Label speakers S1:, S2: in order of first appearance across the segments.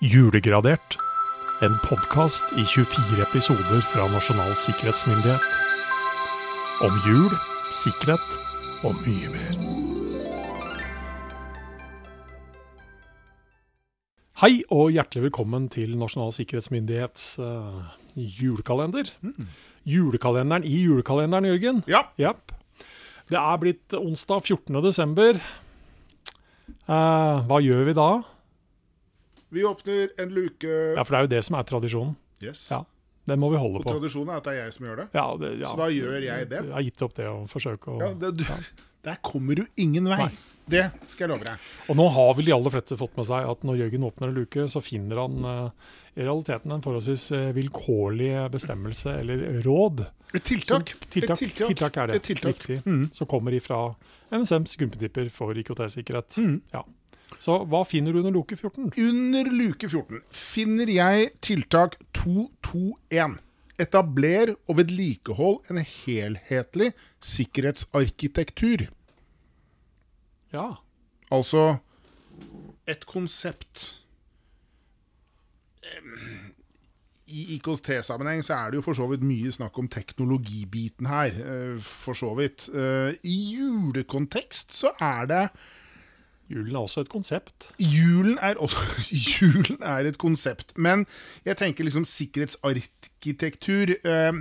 S1: Julegradert. En podkast i 24 episoder fra Nasjonal sikkerhetsmyndighet. Om jul, sikkerhet og mye mer. Hei og hjertelig velkommen til Nasjonal sikkerhetsmyndighets eh, julekalender. Julekalenderen i julekalenderen, Jørgen.
S2: Ja.
S1: Japp. Det er blitt onsdag 14. desember. Eh, hva gjør vi da?
S2: Vi åpner en luke
S1: Ja, for det er jo det som er tradisjonen.
S2: Yes.
S1: Ja, Den må vi holde
S2: Og
S1: på.
S2: tradisjonen er at det er jeg som gjør det.
S1: Ja, det, ja.
S2: Så da gjør jeg det.
S1: Jeg har gitt opp det å forsøke å
S2: Ja, det du, Der kommer du ingen vei.
S1: Nei.
S2: Det skal jeg love deg.
S1: Og nå har vel de aller fleste fått med seg at når Jørgen åpner en luke, så finner han eh, i realiteten en forholdsvis eh, vilkårlig bestemmelse eller råd.
S2: Et
S1: Som-
S2: tiltak.
S1: Tiltak,
S2: Et tiltak.
S1: tiltak er det.
S2: Et tiltak.
S1: Riktig.
S2: Mm.
S1: Som kommer ifra NSMs grunnprinsipper for IKT-sikkerhet.
S2: Mm.
S1: Ja. Så hva finner du under luke 14?
S2: Under luke 14 finner jeg tiltak 221. Etabler og vedlikehold en helhetlig sikkerhetsarkitektur.
S1: Ja.
S2: Altså et konsept. Em, I IKT-sammenheng så er det jo for så vidt mye snakk om teknologibiten her. eh, For så vidt. Eh, I julekontekst så er det
S1: Julen er også et konsept.
S2: Julen er også Julen er et konsept. Men jeg tenker liksom sikkerhetsarkitektur. eh,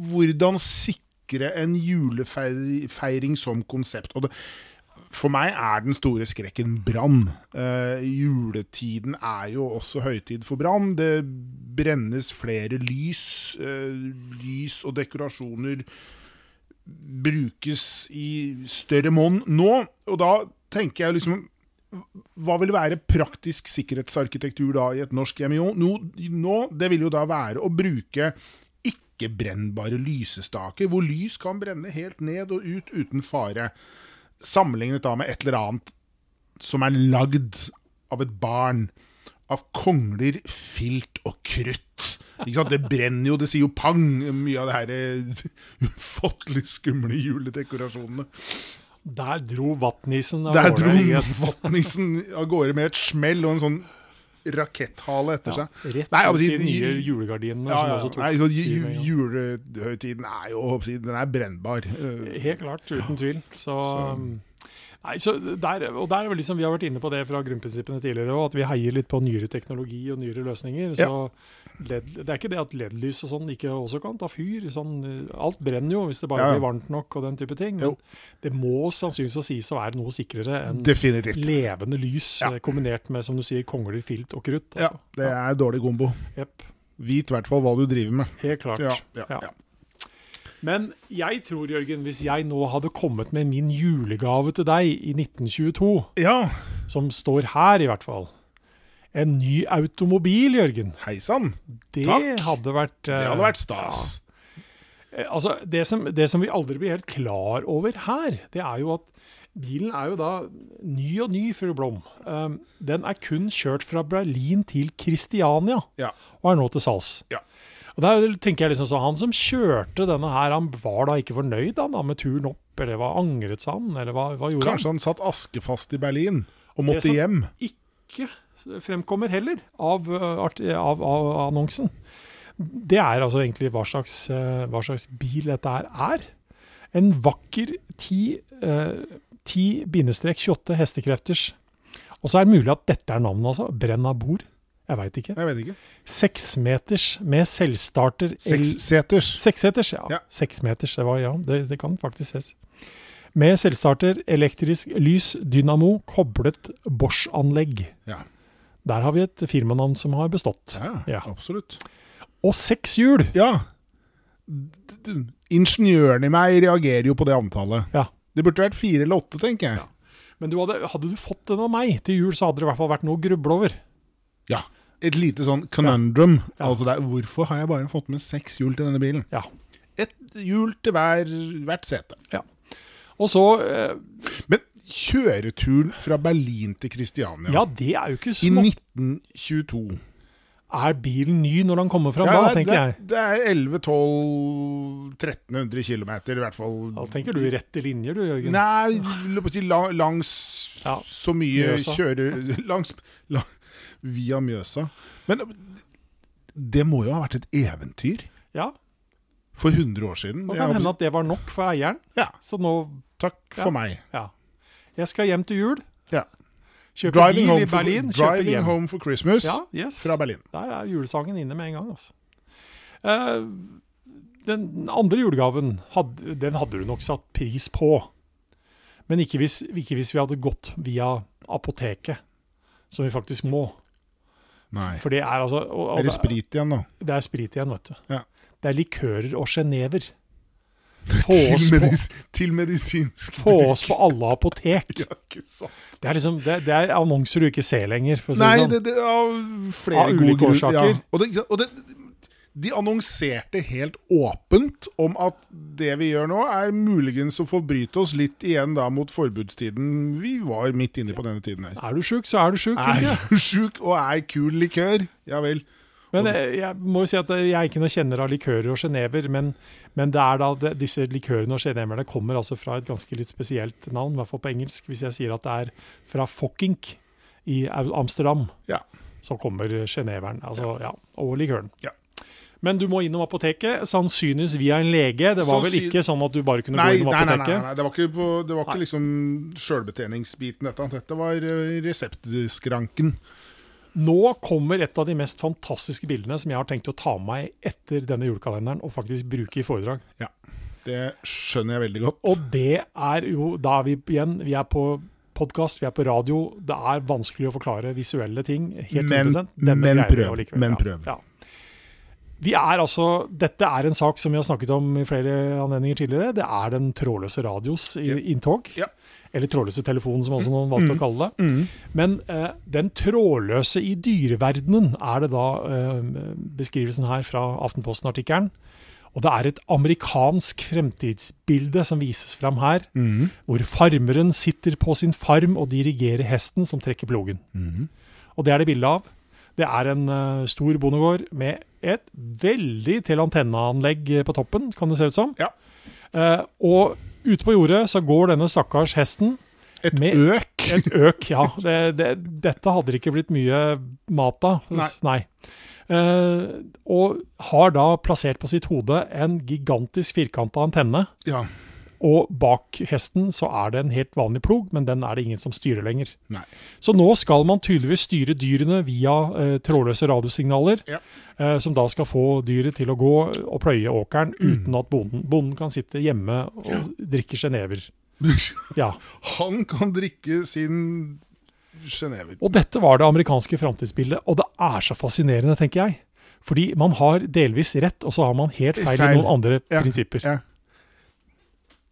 S2: Hvordan sikre en julefeiring som konsept. Og det, for meg er den store skrekken brann. Eh, juletiden er jo også høytid for brann. Det brennes flere lys. Eh, lys og dekorasjoner brukes i større monn nå. Og da tenker jeg liksom hva vil være praktisk sikkerhetsarkitektur da i et norsk hjem? Jo, nå, nå, det vil jo da være å bruke ikke-brennbare lysestaker, hvor lys kan brenne helt ned og ut uten fare. Sammenlignet da med et eller annet som er lagd av et barn. Av kongler, filt og krutt. Ikke sant? Det brenner jo, det sier jo pang, mye av det her eh, ufattelig skumle juledekorasjonene.
S1: Der dro vatnisen av
S2: Der
S1: gårde
S2: dro
S1: i et-
S2: Vatnissen av gårde med et smell og en sånn raketthale etter
S1: Ja,
S2: seg.
S1: rett
S2: Nei, jeg
S1: ut
S2: må
S1: i
S2: si,
S1: de nye
S2: ju-
S1: julegardinene
S2: ja, ja,
S1: som også tok
S2: nei, så, ju,
S1: fyr med en
S2: ju,
S1: gang.
S2: julehøytiden er jo jeg håper å si, den er brennbar. Eh,
S1: Helt klart, uten tvil. Så, um, nei, så der, og der er vel liksom, Vi har vært inne på det fra grunnprinsippene tidligere òg, at vi heier litt på nyere teknologi og nyere løsninger. Så LED, Det er ikke det at LED-lys og sånn ikke også kan ta fyr. Sånn, eh, alt brenner jo hvis det bare
S2: Ja, ja.
S1: blir varmt nok og den type ting. Men
S2: Jo.
S1: det må sannsynligvis å sies å være noe sikrere enn
S2: Definitivt.
S1: levende lys
S2: Ja.
S1: eh, kombinert med som du sier, kongler, filt og krutt.
S2: Ja,
S1: Altså.
S2: det er dårlig gombo.
S1: Jepp.
S2: Vit i hvert fall hva du driver med.
S1: Helt klart.
S2: Ja, ja, ja.
S1: Men jeg tror, Jørgen, hvis jeg nå hadde kommet med min julegave til deg i 1922,
S2: Ja,
S1: som står her i hvert fall En ny automobil, Jørgen.
S2: hei sann.
S1: Det
S2: Takk.
S1: hadde vært
S2: Det hadde vært stas.
S1: Eh, Altså, det som, det som vi aldri blir helt klar over her, det er jo at bilen er jo da ny og ny, fru Blom. Um, den er kun kjørt fra Berlin til Kristiania,
S2: Ja.
S1: og er nå til salgs.
S2: Ja.
S1: Og der tenker jeg liksom så, Han som kjørte denne her, han var da ikke fornøyd han, da, med turen opp, eller hva angret han, eller hva, hva gjorde
S2: Kanskje han satt askefast i Berlin og
S1: Det
S2: måtte
S1: som-
S2: hjem.
S1: han? Ikke fremkommer heller av, uh, art- av, av annonsen. Det er altså egentlig hva slags, uh, hva slags bil dette her er. En vakker 10, eh, 10-28 hestekrefters. Og så er det mulig at dette er navnet, altså. Brenn av bord. Jeg veit ikke.
S2: Jeg vet ikke.
S1: Seksmeters med selvstarter L-
S2: Seksseters.
S1: Seksseters, ja.
S2: Ja.
S1: Seksmeters, det var ja. Det, det kan faktisk ses. Med selvstarter, elektrisk lys, dynamo, koblet Bosch-anlegg.
S2: Ja.
S1: Der har vi et firmanavn som har bestått.
S2: Ja,
S1: Ja.
S2: absolutt.
S1: Og seks hjul!
S2: Ja. D- d- Ingeniøren i meg reagerer jo på det antallet.
S1: Ja.
S2: Det burde vært fire eller åtte, tenker jeg.
S1: Men du hadde, hadde du fått den av meg til jul, så hadde det i hvert fall vært noe å gruble over.
S2: Ja. Et lite sånn conundrum.
S1: Ja.
S2: Altså det er, hvorfor har jeg bare fått med seks hjul til denne bilen?
S1: Ja.
S2: Et hjul til hver, hvert sete.
S1: Og så eh,
S2: Men kjøreturen fra Berlin til Kristiania
S1: Ja, det er jo ikke
S2: i
S1: små...
S2: 1922
S1: Er bilen ny når den kommer fram da,
S2: det,
S1: tenker jeg.
S2: det er 11-12-1300 km, i hvert fall.
S1: Da tenker du rette linjer, du Jørgen.
S2: Nei, la meg si la- langs
S1: Ja,
S2: så mye
S1: Mjøsa.
S2: kjører Langs la, Via Mjøsa. Men det må jo ha vært et eventyr
S1: Ja,
S2: for 100 år siden.
S1: Det
S2: Jeg
S1: kan
S2: håper-
S1: hende at det var nok for eieren.
S2: Ja.
S1: Så nå,
S2: Takk
S1: Ja.
S2: for meg.
S1: ja. Jeg skal hjem til jul.
S2: Ja.
S1: Kjøpe
S2: Driving,
S1: bil
S2: home
S1: i
S2: for,
S1: Berlin, kjøpe
S2: driving
S1: hjem.
S2: home for Christmas
S1: Ja, yes.
S2: fra Berlin.
S1: Der er julesangen inne med en gang, altså. Eh, den andre julegaven, hadde, den hadde du nok satt pris på. Men ikke hvis, ikke hvis vi hadde gått via apoteket, som vi faktisk må.
S2: Nei.
S1: For det er altså og, og
S2: Er det sprit igjen, da?
S1: det er sprit igjen, vet du.
S2: Ja.
S1: Det er likører og sjenever. Få oss
S2: Til,
S1: på,
S2: medis, til medisinsk
S1: få oss på alle apotek.
S2: Ja, ikke sant.
S1: Det er liksom, det, det er annonser du ikke ser lenger, for å si
S2: Nei,
S1: det sånn.
S2: det, det, av flere
S1: Av
S2: gode
S1: ulike
S2: grunner.
S1: årsaker.
S2: Ja. Og, det, og det, de annonserte helt åpent om at det vi gjør nå, er muligens å forbryte oss litt igjen da mot forbudstiden vi var midt inne på denne tiden her.
S1: Er du sjuk, så er du sjuk. tenker jeg.
S2: Er du sjuk og er kul likør? Ja vel.
S1: Men jeg, jeg må jo si at jeg er ikke noen kjenner av likører og sjenever, men, men det er da det, disse likørene og sjeneverne kommer altså fra et ganske litt spesielt navn, i hvert fall på engelsk. Hvis jeg sier at det er fra Fockink i Au- Amsterdam,
S2: Ja.
S1: så kommer sjeneveren, altså ja, og likøren.
S2: Ja.
S1: Men du må innom apoteket, sannsynligvis via en lege. Det var vel
S2: Sannsyn-
S1: ikke sånn at du bare kunne gå
S2: Nei, nei,
S1: innom
S2: nei, nei,
S1: apoteket?
S2: nei, det var ikke, på, det var ikke
S1: Nei.
S2: liksom sjølbetjeningsbiten dette. Dette var eh, reseptskranken.
S1: Nå kommer et av de mest fantastiske bildene som jeg har tenkt å ta med meg etter denne julekalenderen og faktisk bruke i foredrag.
S2: Ja, det skjønner jeg veldig godt.
S1: Og det er jo Da er vi igjen Vi er på podkast, vi er på radio. Det er vanskelig å forklare visuelle ting. Helt
S2: Men-
S1: 100%. Denne
S2: men
S1: greier vi
S2: prøv,
S1: allikevel,
S2: men
S1: ja,
S2: prøv.
S1: Ja. Vi er altså, Dette er en sak som vi har snakket om i flere anledninger tidligere. Det er den trådløse radios i,
S2: Ja.
S1: inntog.
S2: Ja.
S1: Eller trådløse telefonen, som også noen valgte å kalle det. Men eh, den trådløse i dyreverdenen er det da eh, beskrivelsen her fra Aftenposten-artikkelen. Og det er et amerikansk fremtidsbilde som vises fram her,
S2: Mm.
S1: hvor farmeren sitter på sin farm og dirigerer hesten som trekker plogen. Og det er det bilde av. Det er en eh, stor bondegård med et veldig til antenneanlegg eh, på toppen, kan det se ut som.
S2: Ja.
S1: Eh, og ute på jordet så går denne stakkars hesten
S2: Et
S1: med-
S2: øk.
S1: et øk, ja. Det, det, dette hadde det ikke blitt mye mat av.
S2: Nei.
S1: Nei. Eh, og har da plassert på sitt hode en gigantisk firkanta antenne.
S2: Ja.
S1: Og bak hesten så er det en helt vanlig plog, men den er det ingen som styrer lenger.
S2: Nei.
S1: Så nå skal man tydeligvis styre dyrene via eh, trådløse radiosignaler,
S2: Ja.
S1: eh, som da skal få dyret til å gå og pløye åkeren
S2: Mm.
S1: uten at bonden, bonden kan sitte hjemme og drikke sjenever. Ja.
S2: Han kan drikke sin sjenever.
S1: Og dette var det amerikanske framtidsbildet, og det er så fascinerende, tenker jeg. Fordi man har delvis rett, og så har man helt feil,
S2: Feil.
S1: i noen andre
S2: Ja,
S1: prinsipper.
S2: ja.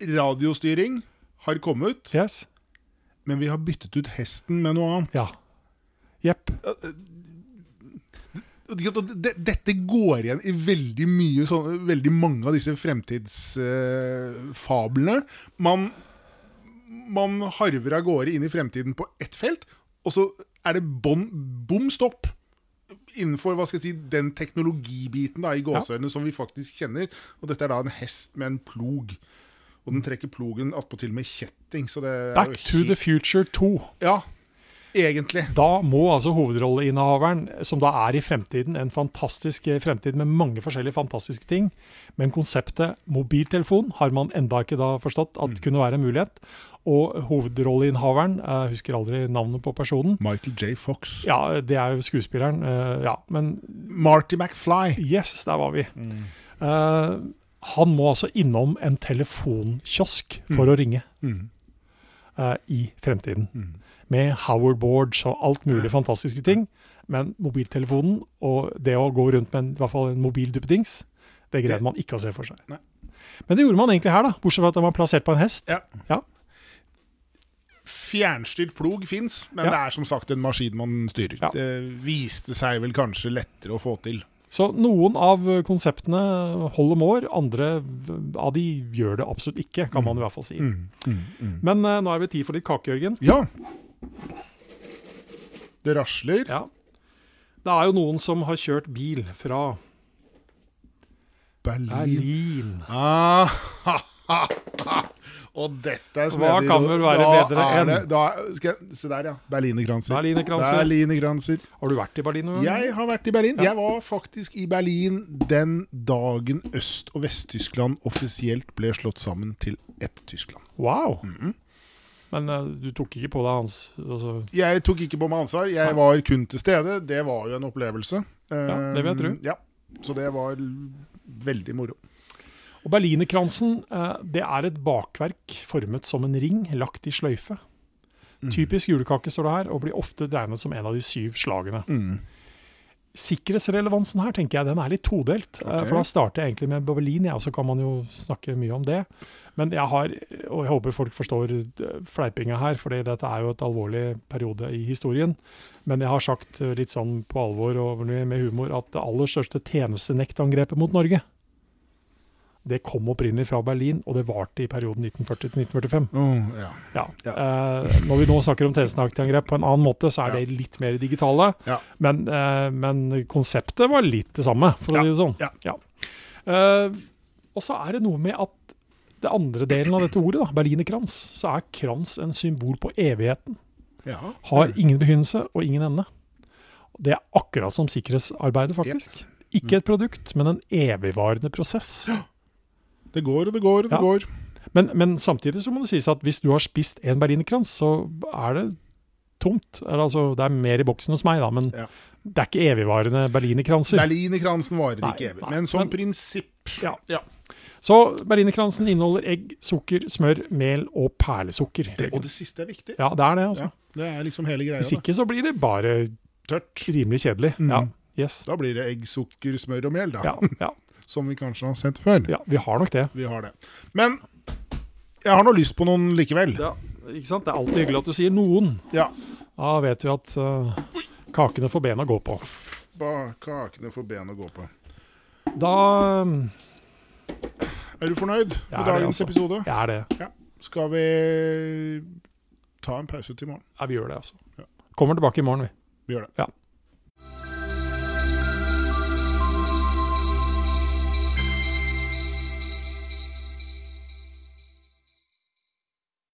S2: Radiostyring har kommet,
S1: Yes?
S2: men vi har byttet ut hesten med noe annet.
S1: Ja. Jepp.
S2: Og det- og det- Dette går igjen i veldig mye sånn, Veldig mange av disse fremtidsfablene. man, man harver av gårde inn i fremtiden på ett felt, og så er det bånn- bom stopp. innenfor hva skal jeg si, den teknologibiten da, i gåseøynene som vi faktisk kjenner. Og dette er da en hest med en plog. Og den trekker plogen attpåtil med kjetting. Så det er
S1: Back to
S2: jo
S1: the
S2: helt,
S1: future 2.
S2: Ja, egentlig.
S1: Da må altså hovedrolleinnehaveren, som da er i fremtiden, en fantastisk eh, fremtid med mange forskjellige fantastiske ting, men konseptet mobiltelefon har man enda ikke da forstått at
S2: Mm.
S1: kunne være en mulighet. Og hovedrolleinnehaveren, jeg husker aldri navnet på personen,
S2: Michael J. Fox.
S1: ja, det er jo skuespilleren, eh, ja, men
S2: Marty McFly.
S1: Yes, der var vi.
S2: Mm.
S1: Eh, han må altså innom en telefonkiosk for
S2: Mm.
S1: å ringe eh, i fremtiden.
S2: Mm.
S1: Med Howard Boards og alt mulig fantastiske ting. Men mobiltelefonen og det å gå rundt med en, i hvert fall en mobilduppedings, det
S2: Det-
S1: greide man ikke å se for seg.
S2: Nei.
S1: Men det gjorde man egentlig her, da, bortsett fra at den var plassert på en hest.
S2: Ja.
S1: Ja.
S2: Fjernstyrt plog fins, men
S1: Ja.
S2: det er som sagt en maskin man styrer.
S1: Ja.
S2: Det viste seg vel kanskje lettere å få til.
S1: Så noen av konseptene holder mål, andre av de gjør det absolutt ikke,
S2: Mm.
S1: kan man i hvert fall si. Men eh, nå er det tid for litt kake, Jørgen.
S2: Ja. Det rasler.
S1: Ja. Det er jo noen som har kjørt bil fra
S2: Berlin.
S1: Berlin.
S2: Ah, ha, ha, ha. Og dette er snedig.
S1: Hva kan vel være
S2: Da
S1: bedre
S2: er
S1: enn-
S2: det- da- skal jeg- Se der, ja. Berlinerkranser.
S1: Berlinerkranser.
S2: Berlinerkranser.
S1: Har du vært i Berlin? Øyvind?
S2: Jeg har vært i Berlin. Jeg var faktisk i Berlin den dagen Øst- og Vest-Tyskland offisielt ble slått sammen til ett Tyskland. Mm.
S1: Wow! Men eh, du tok ikke på deg hans altså,
S2: Jeg tok ikke på meg ansvar. Jeg var kun til stede. Det var jo en opplevelse.
S1: Ja, det vil jeg tro.
S2: Eh, Ja. Så det var l- veldig moro.
S1: Og Berlinerkransen eh, det er et bakverk formet som en ring lagt i sløyfe.
S2: Mm.
S1: Typisk julekake, står det her, og blir ofte regnet som en av de syv slagene.
S2: Mm.
S1: Sikkerhetsrelevansen her tenker jeg, den er litt todelt. eh,
S2: Ok.
S1: For Da starter jeg egentlig med Berlin, ja, og så kan man jo snakke mye om det. Men jeg har, og jeg håper folk forstår eh, fleipinga her, fordi dette er jo et alvorlig periode i historien. Men jeg har sagt eh, litt sånn på alvor og med humor at det aller største tjenestenektangrepet mot Norge, det kom opprinnelig fra Berlin, og det varte i perioden 1940 til 1945.
S2: Åh, ja.
S1: Ja. Eh, når vi nå snakker om tjenestenaktangrep på en annen måte, så er
S2: Ja.
S1: det litt mer digitale.
S2: Ja.
S1: Men, eh, men konseptet var litt det samme, for å si det sånn.
S2: Ja.
S1: Eh, og så er det noe med at det andre delen av dette ordet, da, berlinerkrans, så er krans en symbol på evigheten.
S2: ja.
S1: Har ingen begynnelse og ingen ende. Det er akkurat som sikkerhetsarbeidet, faktisk. Ikke et produkt, men en evigvarende prosess.
S2: Det går og det går og det
S1: Ja.
S2: går.
S1: Men, men samtidig så må det sies at hvis du har spist en berlinerkrans, så er det tomt. Eller altså, det er mer i boksen hos meg, da, men
S2: Ja.
S1: det er ikke evigvarende berlinerkranser.
S2: Berlinerkransen varer
S1: Nei,
S2: ikke evig.
S1: nei,
S2: Men som
S1: men-
S2: prinsipp
S1: Ja.
S2: Ja.
S1: Så berlinerkransen inneholder egg, sukker, smør, mel og perlesukker.
S2: Det, og det siste er viktig.
S1: Ja, det er det, altså.
S2: Ja. Det er liksom hele greia.
S1: Hvis
S2: Da.
S1: ikke så blir det bare
S2: Tørt.
S1: rimelig kjedelig.
S2: Mm.
S1: Ja, yes.
S2: Da blir det egg, sukker, smør og mel, da.
S1: Ja, ja,
S2: Som vi kanskje har sett før.
S1: ja, vi har nok det.
S2: Vi har det. Men jeg har nå lyst på noen likevel.
S1: Ja, ikke sant? Det er alltid hyggelig at du sier noen.
S2: Ja.
S1: Da vet vi at eh, kakene får ben å gå på.
S2: Ba kakene får ben å gå på.
S1: Da eh,
S2: Er du fornøyd
S1: Ja,
S2: med
S1: det er
S2: dagens
S1: altså.
S2: episode?
S1: er det
S2: Skal vi ta en pause til i morgen?
S1: Ja, vi gjør det, altså.
S2: Ja.
S1: Kommer tilbake i morgen, vi.
S2: Vi gjør det.
S1: Ja.